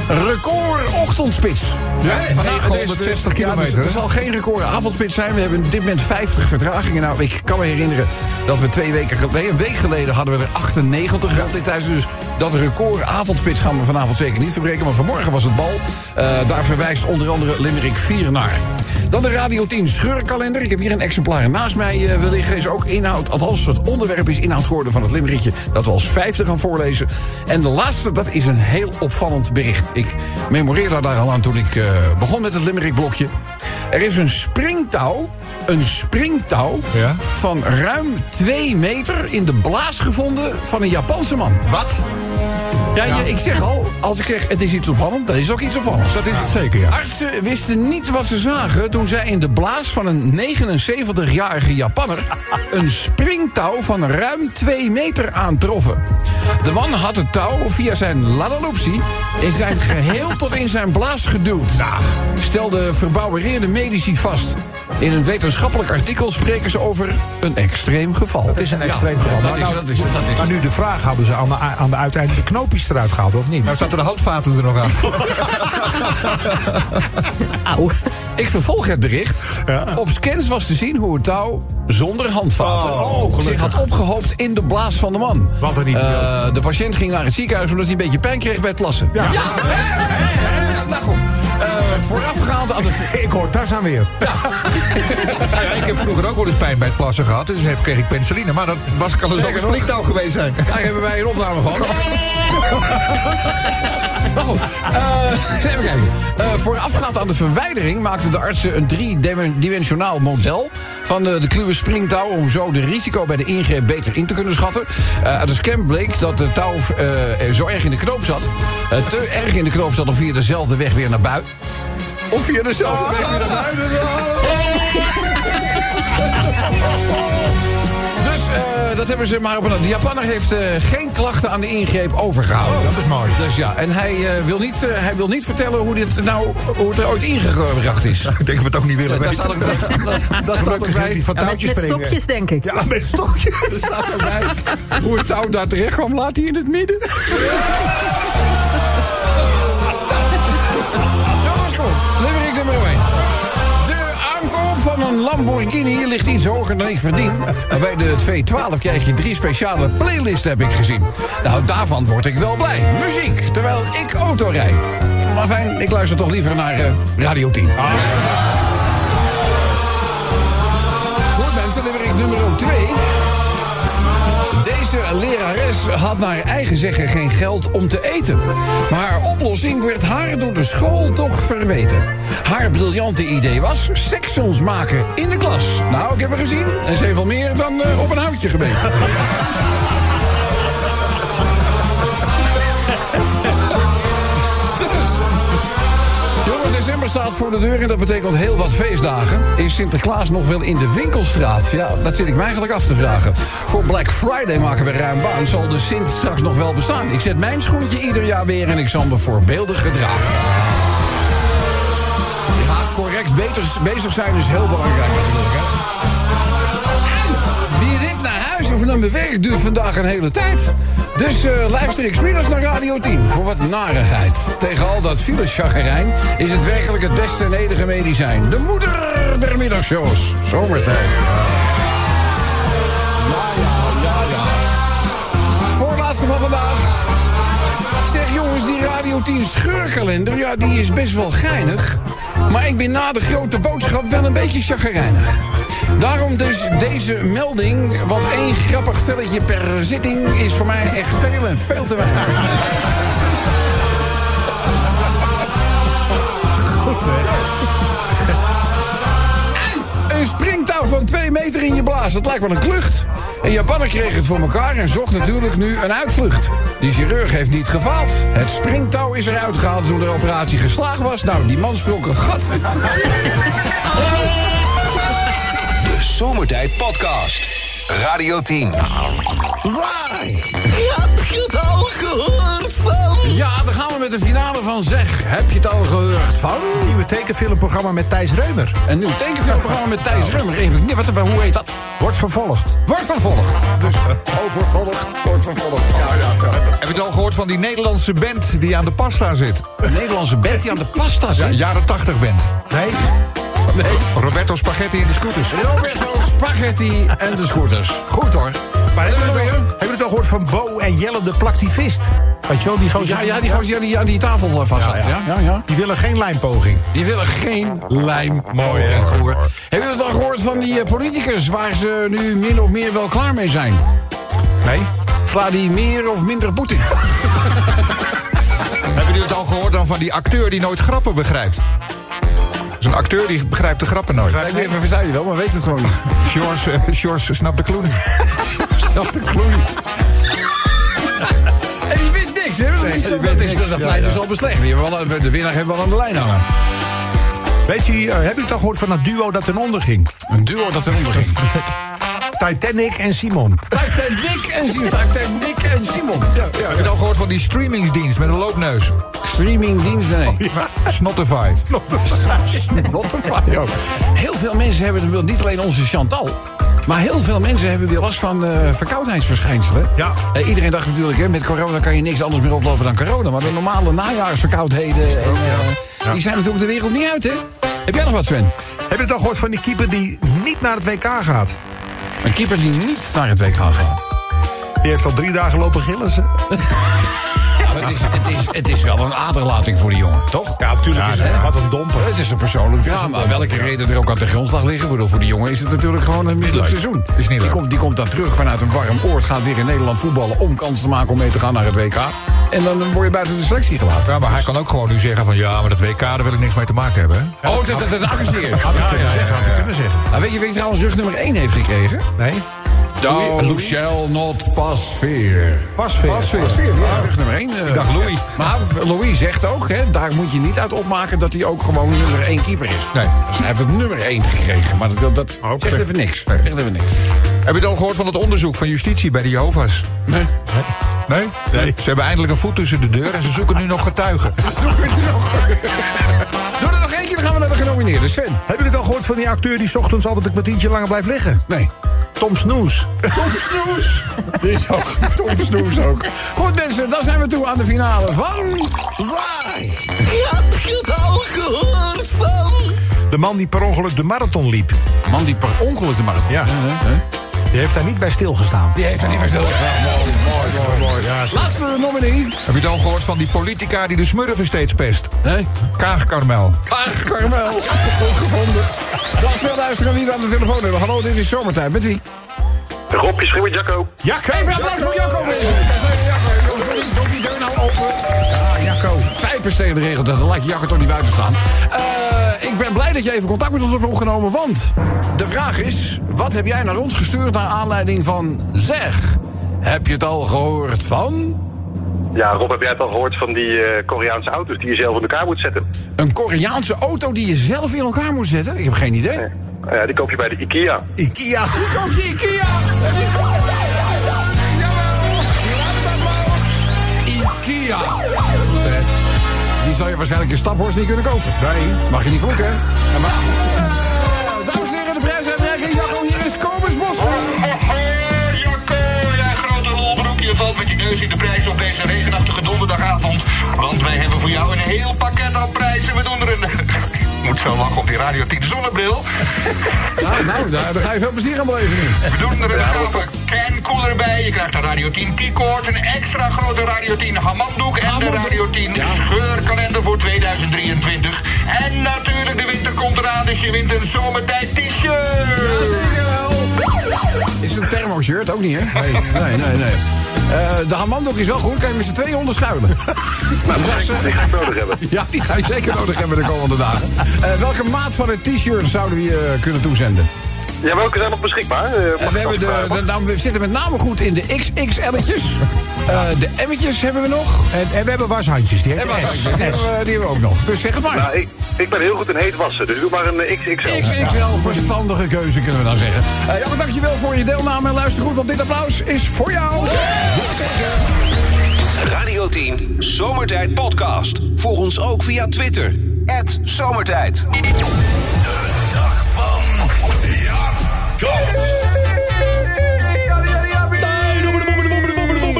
[SPEAKER 2] Record ochtendspits.
[SPEAKER 6] Nee,
[SPEAKER 2] Vandaag
[SPEAKER 6] nee,
[SPEAKER 2] is
[SPEAKER 6] 160
[SPEAKER 2] de- ja, dus
[SPEAKER 6] kilometer,
[SPEAKER 2] Er zal geen record avondspits zijn. We hebben op dit moment 50 vertragingen. Nou, ik kan me herinneren dat we twee weken geleden... een week geleden hadden we er 98 gehad dit thuis. Dus dat record avondspits gaan we vanavond zeker niet verbreken. Maar vanmorgen was het bal. Eh, daar verwijst onder andere Limerick 4 naar. Dan de Radio 10 scheurkalender. Ik heb hier een exemplaar naast mij eh, wil liggen. Is ook inhoud, althans het onderwerp is inhoud geworden van het limerickje... dat we als vijfde gaan voorlezen. En de laatste, dat is een heel opvallend bericht. Ik memoreerde daar al aan toen ik eh, begon met het limerickblokje. Er is een springtouw, een springtouw...
[SPEAKER 6] Ja?
[SPEAKER 2] van ruim twee meter in de blaas gevonden van een Japanse man.
[SPEAKER 6] Wat?
[SPEAKER 2] Ja, je- ik zeg al, als ik zeg het is iets opvallend, dan is het ook iets opvallends.
[SPEAKER 6] Dat is het zeker, ja.
[SPEAKER 2] Artsen wisten niet wat ze zagen toen zij in de blaas van een 79-jarige Japanner een springtouw van ruim 2 meter aantroffen. De man had het touw via zijn ladalopsie in zijn geheel tot in zijn blaas geduwd. Stelde verbouwereerde medici vast. In een wetenschappelijk artikel spreken ze over een extreem geval.
[SPEAKER 6] Het is een extreem geval.
[SPEAKER 2] Dat
[SPEAKER 6] Maar
[SPEAKER 2] is,
[SPEAKER 6] nou-
[SPEAKER 2] dat is, dat is.
[SPEAKER 6] Maar nu de vraag, hadden ze aan de, aan de uiteindelijke knoopjes eruit gehaald of niet?
[SPEAKER 4] Nou, staat er de houtvaten er nog aan.
[SPEAKER 5] Auw.
[SPEAKER 2] Ik vervolg het bericht. Op scans was te zien hoe het touw zonder handvaten zich had opgehoopt in de blaas van de man.
[SPEAKER 6] Wat een idioot.
[SPEAKER 2] Eh, de patiënt ging naar het ziekenhuis omdat hij een beetje pijn kreeg bij het plassen. Ja, hè, hè, hè. Ja, nou goed. Eh, voorafgaand aan de...
[SPEAKER 6] Ik hoor Tarzan weer.
[SPEAKER 4] Nou ja, ik heb vroeger ook wel eens pijn bij het plassen gehad. Dus heb, kreeg ik penicilline. Maar dat was, kan dus ook een spliktouw geweest zijn.
[SPEAKER 2] Daar hebben wij een opname van. Maar goed, eh, eens even kijken. Eh, voorafgaand aan de verwijdering maakten de artsen een driedimensionaal model van de, de kluwe springtouw om zo de risico bij de ingreep beter in te kunnen schatten. Eh, uit de scan bleek dat de touw eh, zo erg in de knoop zat, eh, te erg in de knoop zat om via dezelfde weg weer naar buiten. Of via dezelfde weg weer naar buiten. Dus eh, dat hebben ze maar op een. De Japanner heeft eh, geen klachten aan de ingreep overgehouden.
[SPEAKER 6] dat is mooi.
[SPEAKER 2] Dus ja, en hij, eh, wil niet, eh, hij wil niet vertellen hoe, dit nou, hoe het er ooit ingebracht is.
[SPEAKER 4] Ik denk dat we het ook niet willen
[SPEAKER 2] Daar
[SPEAKER 4] weten.
[SPEAKER 2] staat ook bij. Daar- Daar staat ook
[SPEAKER 6] Gelukkig niet
[SPEAKER 2] bij.
[SPEAKER 6] die van
[SPEAKER 5] Met,
[SPEAKER 6] touwtjes
[SPEAKER 5] met
[SPEAKER 6] springen.
[SPEAKER 5] stokjes, denk ik.
[SPEAKER 6] Ja, met stokjes.
[SPEAKER 2] Daar staat ook bij Hoe het touw daar terecht kwam, laat hij in het midden. Jongens, kom. Limerick nummer 1. De aankoop van een Lamborghini ligt iets hoger dan ik verdien. Maar bij de 212 krijg je drie speciale playlisten, heb ik gezien. Nou, daarvan word ik wel blij. Muziek, terwijl ik auto rijd. Maar fijn, ik luister toch liever naar eh, Radio Ah. 10. Goed mensen, limerick nummer 2. Deze lerares had naar eigen zeggen geen geld om te eten. Maar haar oplossing werd haar door de school toch verweten. Haar briljante idee was seksons maken in de klas. Nou, ik heb er gezien. En ze heeft al meer dan eh, op een houtje gebeten. dus, Jongens, december staat voor de deur en dat betekent heel wat feestdagen. Is Sinterklaas nog wel in de winkelstraat? Ja, dat zit ik me eigenlijk af te vragen. Voor Black Friday maken we ruim baan. Zal de Sint straks nog wel bestaan? Ik zet mijn schoentje ieder jaar weer en ik zal me voorbeeldig gedragen. Ja, correct beter, bezig zijn is heel belangrijk natuurlijk, hè. En die rit naar huis of naar mijn werk duurt vandaag een hele tijd. Dus eh, luister ik smiddags naar Radio 10 voor wat narigheid. Tegen al dat fileschagerijn is het werkelijk het beste en enige medicijn. De moeder der middagshows. Zomertijd. Ja, ja, ja, ja. Voorlaatste van vandaag. Zeg jongens, die Radio 10 scheurkalender, ja, die is best wel geinig. Maar ik ben na de grote boodschap wel een beetje chagrijnig. Daarom dus deze melding, want één grappig velletje per zitting is voor mij echt veel en veel te weinig. Een springtouw van 2 meter in je blaas, dat lijkt wel een klucht. En Japaner kreeg het voor elkaar en zocht natuurlijk nu een uitvlucht. Die chirurg heeft niet gefaald. Het springtouw is eruit gehaald toen de operatie geslaagd was. Nou, die man sprong een gat.
[SPEAKER 1] De Zomertijd Podcast. Radio 10.
[SPEAKER 9] Heb je het al gehoord van?
[SPEAKER 2] Ja, dan gaan we met de finale van Zeg. Heb je het al gehoord van?
[SPEAKER 6] Nieuwe tekenfilmprogramma met Thijs Reumer.
[SPEAKER 2] Een nieuw tekenfilmprogramma met Thijs Rummer. Even, nee, wat, hoe heet dat?
[SPEAKER 6] Wordt vervolgd.
[SPEAKER 2] Wordt vervolgd. Dus,
[SPEAKER 4] eh.
[SPEAKER 2] overvolgd, wordt vervolgd. Ja, ja, ja.
[SPEAKER 4] Heb je het al gehoord van die Nederlandse band die aan de pasta zit?
[SPEAKER 2] Een Nederlandse bed die aan de pasta
[SPEAKER 4] Ja,
[SPEAKER 2] zit.
[SPEAKER 4] jaren 80 band.
[SPEAKER 6] Nee,
[SPEAKER 2] Nee.
[SPEAKER 4] Roberto Spaghetti in de scooters.
[SPEAKER 2] Roberto Spaghetti en de scooters. Goed hoor.
[SPEAKER 6] maar
[SPEAKER 2] Nummer
[SPEAKER 6] hebben jullie het,
[SPEAKER 2] weer?
[SPEAKER 6] al- hebben jullie het al gehoord van Bo en Jelle de plaktivist? Weet je wel, die gozer...
[SPEAKER 2] Ja, ja, die gozer die aan die tafel eh, vast zat. Ja, ja, ja.
[SPEAKER 6] Die willen geen lijmpoging.
[SPEAKER 2] Die willen geen lijm. Mooi, hè? Heb je het al gehoord van die eh, politicus waar ze nu min of meer wel klaar mee zijn?
[SPEAKER 6] Nee?
[SPEAKER 2] Vladimir of minder Poetin?
[SPEAKER 4] Hebben jullie het al gehoord dan van die acteur die nooit grappen begrijpt? Dat is een acteur die begrijpt de grappen nooit.
[SPEAKER 2] Ik weet even, verstaan je wel, maar weet het gewoon niet.
[SPEAKER 4] George, eh, George snapt de clue niet.
[SPEAKER 2] Dat de kloe niet. En die wint niks, hè? Dat is,
[SPEAKER 4] die
[SPEAKER 2] dat
[SPEAKER 4] wint
[SPEAKER 2] is,
[SPEAKER 4] niks.
[SPEAKER 2] dat
[SPEAKER 4] Ja,
[SPEAKER 2] pleit
[SPEAKER 4] ja.
[SPEAKER 2] dus al beslecht. Die hebben wel aan- De winnaar heeft wel aan de lijn hangen.
[SPEAKER 6] Weet je, eh, hebben jullie het al gehoord van dat duo dat ten onder ging?
[SPEAKER 2] Een duo dat eronder ging.
[SPEAKER 6] Titanic en Simon.
[SPEAKER 2] Titanic en Simon. Titanic en Simon. Ja, ja,
[SPEAKER 4] Heb je
[SPEAKER 2] ja.
[SPEAKER 4] het al gehoord van die streamingsdienst met een loopneus?
[SPEAKER 2] streamingdienst. Nee.
[SPEAKER 4] Snotify.
[SPEAKER 2] Spotify ook. Heel veel mensen hebben het wel, niet alleen onze Chantal. Maar heel veel mensen hebben weer last van eh, verkoudheidsverschijnselen.
[SPEAKER 6] Ja.
[SPEAKER 2] Eh, iedereen dacht natuurlijk, hè, met corona kan je niks anders meer oplopen dan corona. Maar de normale najaarsverkoudheden, en, eh, die zijn natuurlijk de wereld niet uit, hè? Heb jij nog wat, Sven?
[SPEAKER 6] Heb je het al gehoord van die keeper die niet naar het WK gaat?
[SPEAKER 2] Een keeper die niet naar het WK gaat.
[SPEAKER 6] Die heeft al drie dagen lopen gillen. ze.
[SPEAKER 2] Maar het, is, het, is, het is wel een aderlating voor die jongen, toch?
[SPEAKER 6] Ja, natuurlijk is het. Wat een domper.
[SPEAKER 2] Het is een persoonlijk drama. Welke reden er ook aan de grondslag liggen. Ik bedoel, voor die jongen is het natuurlijk gewoon een mislukt seizoen.
[SPEAKER 4] Is niet
[SPEAKER 2] die,
[SPEAKER 4] leuk.
[SPEAKER 2] komt, die komt dan terug vanuit een warm oord. Gaat weer in Nederland voetballen om kans te maken om mee te gaan naar het WK. En dan word je buiten de selectie gelaten.
[SPEAKER 4] Ja, maar hij kan ook gewoon nu zeggen van ja, maar dat WK, daar wil ik niks mee te maken hebben. hè.
[SPEAKER 2] Oh, dat is een actie.
[SPEAKER 6] Had ik kunnen zeggen, had ik kunnen zeggen.
[SPEAKER 2] Nou, weet je wie trouwens rug nummer 1 heeft gekregen?
[SPEAKER 6] Nee?
[SPEAKER 2] Thou shall not pass fear.
[SPEAKER 6] Pasveer.
[SPEAKER 2] Pas fear, ja, rug nummer 1.
[SPEAKER 4] Ik dacht Louis.
[SPEAKER 2] Maar Louis zegt ook, hè, daar moet je niet uit opmaken dat hij ook gewoon nummer 1 keeper is.
[SPEAKER 4] Nee.
[SPEAKER 2] Dus hij heeft het nummer 1 gekregen, maar dat, dat
[SPEAKER 6] Oké.
[SPEAKER 2] zegt even niks. Zegt even niks.
[SPEAKER 4] Heb je het al gehoord van het onderzoek van justitie bij de Jehovah's? Nee?
[SPEAKER 6] Nee.
[SPEAKER 4] Ze hebben eindelijk een voet tussen de deur en ze zoeken nu nog getuigen.
[SPEAKER 2] Doe er nog. Doe er nog eentje, dan gaan we naar de genomineerden. Sven.
[SPEAKER 6] Hebben jullie het al gehoord van die acteur die 's ochtends altijd een kwartiertje langer blijft liggen?
[SPEAKER 2] Nee.
[SPEAKER 6] Tom Snoes.
[SPEAKER 2] Tom Snoes. Die is ook. Tom Snoes ook. Goed mensen, dan zijn we toe aan de finale van...
[SPEAKER 9] Waar heb je het al gehoord van?
[SPEAKER 6] De man die per ongeluk de marathon liep.
[SPEAKER 2] Man die per ongeluk de marathon.
[SPEAKER 6] Ja.
[SPEAKER 2] Hè, hè?
[SPEAKER 6] Die heeft daar niet bij stilgestaan.
[SPEAKER 2] Die heeft er niet meer zo.
[SPEAKER 4] Oh,
[SPEAKER 6] Mooi, mooi. Ja, zo.
[SPEAKER 2] Laatste nominee.
[SPEAKER 4] Heb je het al gehoord van die politica die de smurfen steeds pest?
[SPEAKER 2] Nee.
[SPEAKER 4] Kaag Karmel.
[SPEAKER 2] Ach, Carmel. Goed gevonden. Dan veel luisteren wie we aan de telefoon hebben. Hallo, dit is zomertijd. Met wie?
[SPEAKER 10] Rob, je schreeuwt Jacco.
[SPEAKER 6] Jacco!
[SPEAKER 2] Even een applaus voor Jacco. mensen. Daar zijn we, Jacco. Jongens, doe die- Doe die deur nou open.
[SPEAKER 6] Ah, Jacco.
[SPEAKER 2] pijpers tegen de regel. Dan laat je jakker toch niet buiten staan. Eh, ik ben blij dat je even contact met ons hebt opgenomen. Want de vraag is: wat heb jij naar ons gestuurd naar aanleiding van zeg? Heb je het al gehoord van?
[SPEAKER 10] Ja, Rob, heb jij het al gehoord van die eh, Koreaanse auto's die je zelf in elkaar moet zetten?
[SPEAKER 2] Een Koreaanse auto die je zelf in elkaar moet zetten? Ik heb geen idee.
[SPEAKER 10] Nou Ja, die koop je bij de IKEA.
[SPEAKER 6] Ikea.
[SPEAKER 2] Koop je Ikea! Ikea! Die zou je waarschijnlijk in Staphorst niet kunnen kopen. Nee. Mag je niet vloeken, hè? Ja, maar... Eh, Dames en heren, de prijsuitreiking. Jacco, hier is Kobus Bos.
[SPEAKER 11] Jacco, ja, grote rolbroek. Je valt met je neus in de prijs op deze regenachtige donderdagavond. Want wij hebben voor jou een heel pakket aan prijzen. We doen er een... Ik moet zo lachen op die Radio 10 zonnebril.
[SPEAKER 2] Nou, nou, daar, daar ga je veel plezier aan beleven nu.
[SPEAKER 11] We doen er een gave cancooler bij. Je krijgt een Radio 10 keycord, een extra grote Radio 10 hamandoek... en de Radio 10 scheurkalender voor 2023. En natuurlijk, de winter komt eraan, dus je wint een zomertijd t-shirt.
[SPEAKER 2] Is het een thermoshirt? Ook niet, hè? Nee, nee, nee. nee. Eh, de hamandok is wel goed, kan je met z'n tweeën onderschuilen. Nou, dat is, eh,
[SPEAKER 10] Die ga ik nodig hebben.
[SPEAKER 2] ja, die ga je zeker nodig hebben de komende dagen. Eh, welke maat van het t-shirt zouden we je eh, kunnen toezenden?
[SPEAKER 10] Ja, welke zijn nog beschikbaar? Eh,
[SPEAKER 2] Eh, we,
[SPEAKER 10] mag ik
[SPEAKER 2] hebben
[SPEAKER 10] dat
[SPEAKER 2] de,
[SPEAKER 10] vragen?
[SPEAKER 2] de- nou, we zitten met name goed in de XXL'tjes. Eh de M'tjes hebben we nog.
[SPEAKER 6] En, en we hebben washandjes. Die
[SPEAKER 2] En
[SPEAKER 6] heet
[SPEAKER 2] wat,
[SPEAKER 6] S.
[SPEAKER 2] die, hebben
[SPEAKER 6] S.
[SPEAKER 2] we, die hebben we ook nog. Dus zeg het maar.
[SPEAKER 10] Nou, ik, ik ben heel goed in heet wassen, dus doe maar een eh, XXL.
[SPEAKER 2] XXL, verstandige keuze kunnen we dan zeggen. Eh Jan, dankjewel voor je deelname en luister goed, want dit applaus is voor jou.
[SPEAKER 1] Radio 10 Zomertijd Podcast. Volg ons ook via Twitter. @zomertijd. Zomertijd.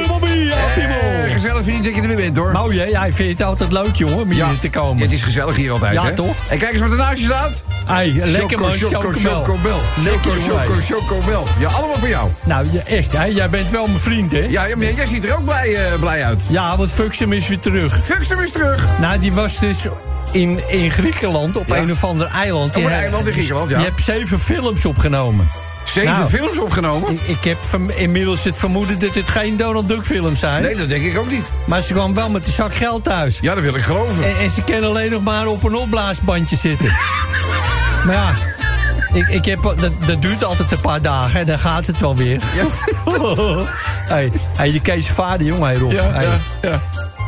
[SPEAKER 2] Eh, Gezellig vind je dat je er weer bent, hoor.
[SPEAKER 8] Mooi, hè? Ja, ik vind het altijd leuk, jongen, om hier te
[SPEAKER 2] Ja,
[SPEAKER 8] komen.
[SPEAKER 2] het is gezellig hier altijd,
[SPEAKER 8] Ja,
[SPEAKER 2] hè?
[SPEAKER 8] toch?
[SPEAKER 2] En kijk eens wat er naast je staat.
[SPEAKER 8] Ei, lekker man,
[SPEAKER 2] Choco,
[SPEAKER 8] chocomel.
[SPEAKER 2] chocomel.
[SPEAKER 8] Lekker,
[SPEAKER 2] Choco,
[SPEAKER 8] jongen.
[SPEAKER 2] choco, chocomel. Ja, allemaal voor jou.
[SPEAKER 8] Nou, ja, echt, hè? Jij bent wel mijn vriend, hè?
[SPEAKER 2] Ja, ja, maar jij ziet er ook blij, eh, blij uit.
[SPEAKER 8] Ja, want Fuxum is weer terug.
[SPEAKER 2] Fuxum is terug.
[SPEAKER 8] Nou, die was dus in, in Griekenland op een of ander eiland.
[SPEAKER 2] een
[SPEAKER 8] Ja,
[SPEAKER 2] eiland in Griekenland, ja.
[SPEAKER 8] Je hebt zeven films opgenomen.
[SPEAKER 2] Zeven
[SPEAKER 8] Nou.
[SPEAKER 2] films opgenomen.
[SPEAKER 8] Ik, ik heb van- inmiddels het vermoeden dat het geen Donald Duck films zijn.
[SPEAKER 2] Nee, dat denk ik ook niet.
[SPEAKER 8] Maar ze kwam wel met een zak geld thuis.
[SPEAKER 2] Ja, dat wil ik geloven.
[SPEAKER 8] En, en ze kunnen alleen nog maar op een opblaasbandje zitten. maar ja, ik, ik heb, dat, dat duurt altijd een paar dagen. En dan gaat het wel weer. hey, hey, die Kees vader, jongen, hey, Rob.
[SPEAKER 2] Ja,
[SPEAKER 8] Hey,
[SPEAKER 2] ja, ja.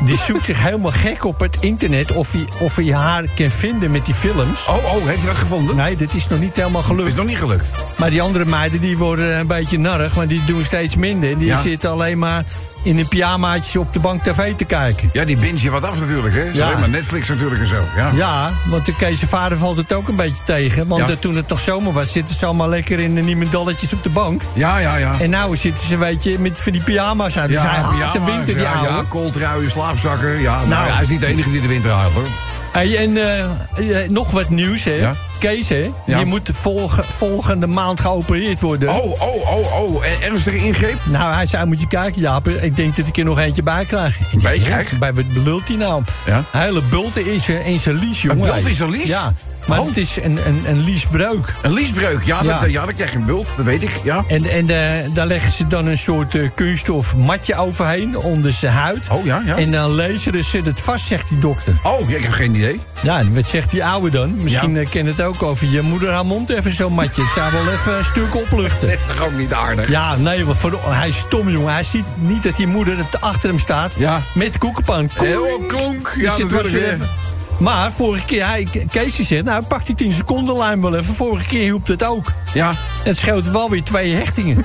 [SPEAKER 8] Die zoekt zich helemaal gek op het internet... of hij, of hij haar kan vinden met die films.
[SPEAKER 2] Oh, oh, heeft je dat gevonden?
[SPEAKER 8] Nee, dit is nog niet helemaal
[SPEAKER 2] Is
[SPEAKER 8] gelukt.
[SPEAKER 2] nog niet gelukt.
[SPEAKER 8] Maar die andere meiden die worden een beetje narrig, want die doen steeds minder. Die
[SPEAKER 2] Ja.
[SPEAKER 8] zitten alleen maar in een pyjamaatje op de bank tv te kijken.
[SPEAKER 2] Ja, die binge je wat af natuurlijk, hè? Is
[SPEAKER 8] Ja.
[SPEAKER 2] Alleen maar Netflix natuurlijk en zo. Ja.
[SPEAKER 8] Ja, want de Kees' vader valt het ook een beetje tegen. Want
[SPEAKER 2] Ja.
[SPEAKER 8] eh, toen het nog zomer was, zitten ze allemaal lekker in de niemendalletjes op de bank.
[SPEAKER 2] Ja, ja, ja.
[SPEAKER 8] En nou zitten ze, weet je, met van die pyjama's aan. dus hij haat de
[SPEAKER 2] pyjama's,
[SPEAKER 8] winter, die
[SPEAKER 2] ja,
[SPEAKER 8] ouwe.
[SPEAKER 2] Ja, kooltruien, slaapzakken. Ja, nou,
[SPEAKER 8] Nou.
[SPEAKER 2] ja, hij is niet de enige die de winter haalt, hoor.
[SPEAKER 8] Hey, en eh, eh, nog wat nieuws, hè.
[SPEAKER 2] Ja.
[SPEAKER 8] Kees, hè, je moet volge- volgende maand geopereerd worden.
[SPEAKER 2] Oh, oh, oh, oh. En ernstige ingreep?
[SPEAKER 8] Nou, hij zei, moet je kijken, Jaap. Ik denk dat ik er nog eentje bij krijg. Ik
[SPEAKER 2] Bij
[SPEAKER 8] zeg,
[SPEAKER 2] krijg?
[SPEAKER 8] Bij wat lult hij nou?
[SPEAKER 2] Ja.
[SPEAKER 8] Een hele bult in zijn, in zijn lies, jongen.
[SPEAKER 2] bult in zijn lies?
[SPEAKER 8] Ja. Maar
[SPEAKER 2] Oh.
[SPEAKER 8] het is een, een, een liesbreuk.
[SPEAKER 2] Een liesbreuk, ja,
[SPEAKER 8] Ja.
[SPEAKER 2] Dat, ja, dat krijg je een bult, dat weet ik, ja.
[SPEAKER 8] En, en eh, daar leggen ze dan een soort eh, kunststof matje overheen, onder zijn huid.
[SPEAKER 2] Oh, ja, ja.
[SPEAKER 8] En dan laseren ze het vast, zegt die dokter.
[SPEAKER 2] Oh, ja, ik heb geen idee.
[SPEAKER 8] Ja, en wat zegt die oude dan? Misschien
[SPEAKER 2] Ja.
[SPEAKER 8] eh, kent het ook over je moeder haar mond even zo'n matje. Het zou wel even een stuk opluchten.
[SPEAKER 2] Dat is toch ook niet aardig?
[SPEAKER 8] Ja, nee, want voor, hij is stom, jongen. Hij ziet niet dat die moeder het achter hem staat
[SPEAKER 2] Ja.
[SPEAKER 8] met koekenpan.
[SPEAKER 2] Eh, oh, klonk. Ja, eh, natuurlijk, hè.
[SPEAKER 8] Maar vorige keer, hij, Kees die zegt, nou pak die 10 seconden lijn wel even. Vorige keer hielp dat ook.
[SPEAKER 2] Ja,
[SPEAKER 8] Het scheelt wel weer twee hechtingen.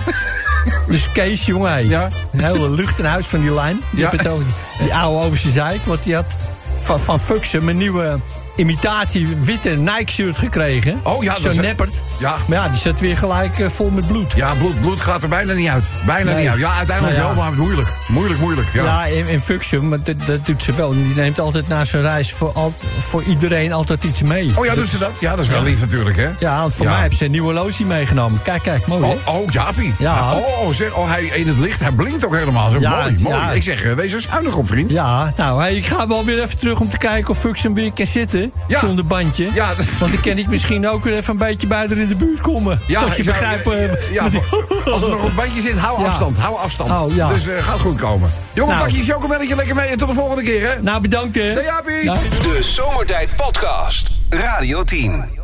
[SPEAKER 8] dus Kees, jongen, hij.
[SPEAKER 2] Ja.
[SPEAKER 8] Een hele lucht en huis van die lijn. Die,
[SPEAKER 2] Ja.
[SPEAKER 8] hebt het ook, die oude over zijn zeik. Want die had van, van Fuxum een nieuwe imitatie witte Nike-shirt gekregen.
[SPEAKER 2] Oh, ja, dat
[SPEAKER 8] Zo'n
[SPEAKER 2] is-
[SPEAKER 8] neppert.
[SPEAKER 2] Ja.
[SPEAKER 8] Maar ja, die zat weer gelijk eh, vol met bloed.
[SPEAKER 2] ja bloed, bloed gaat er bijna niet uit. Bijna
[SPEAKER 8] Nee.
[SPEAKER 2] niet uit. Ja, uiteindelijk
[SPEAKER 8] Nou ja.
[SPEAKER 2] wel, maar moeilijk. Moeilijk, moeilijk, ja.
[SPEAKER 8] Ja, in, in Fuxum, maar dat, dat doet ze wel. Die neemt altijd na zijn reis voor, alt- voor iedereen altijd iets mee.
[SPEAKER 2] Oh ja, doet ze dat? Ja, dat is wel
[SPEAKER 8] Ja.
[SPEAKER 2] lief natuurlijk, hè?
[SPEAKER 8] Ja, want voor
[SPEAKER 2] Ja.
[SPEAKER 8] mij hebben ze een nieuwe lotie meegenomen. Kijk, kijk, mooi hè?
[SPEAKER 2] Oh, oh Jaapie.
[SPEAKER 8] Ja.
[SPEAKER 2] Oh, zeg, oh, hij in het licht, hij blinkt ook helemaal. Zo
[SPEAKER 8] Ja,
[SPEAKER 2] mooi, mooi.
[SPEAKER 8] ja.
[SPEAKER 2] Ik zeg, eh, wees er zuinig op, vriend.
[SPEAKER 8] Ja, nou, hey, ik ga wel weer even terug om te kijken of Fuxum weer kan zitten.
[SPEAKER 2] Ja.
[SPEAKER 8] Zonder bandje.
[SPEAKER 2] Ja, dat-
[SPEAKER 8] Want dan kan ik misschien ook weer even een beetje buiten in de buurt komen.
[SPEAKER 2] Ja,
[SPEAKER 8] als
[SPEAKER 2] ik
[SPEAKER 8] je
[SPEAKER 2] zou-
[SPEAKER 8] begrijpt...
[SPEAKER 2] ja,
[SPEAKER 8] eh,
[SPEAKER 2] ja,
[SPEAKER 8] wat ik-
[SPEAKER 2] Als er nog een bandje zit, hou
[SPEAKER 8] Ja.
[SPEAKER 2] afstand, hou afstand.
[SPEAKER 8] Oh, ja.
[SPEAKER 2] Dus eh, gaat goed komen. Jongen,
[SPEAKER 8] Nou.
[SPEAKER 2] pak je chocomelletje lekker mee en tot de volgende keer, hè?
[SPEAKER 8] Nou, bedankt hè.
[SPEAKER 2] Hey, Jaapie.
[SPEAKER 8] Ja.
[SPEAKER 1] De Zomertijd Podcast. Radio 10.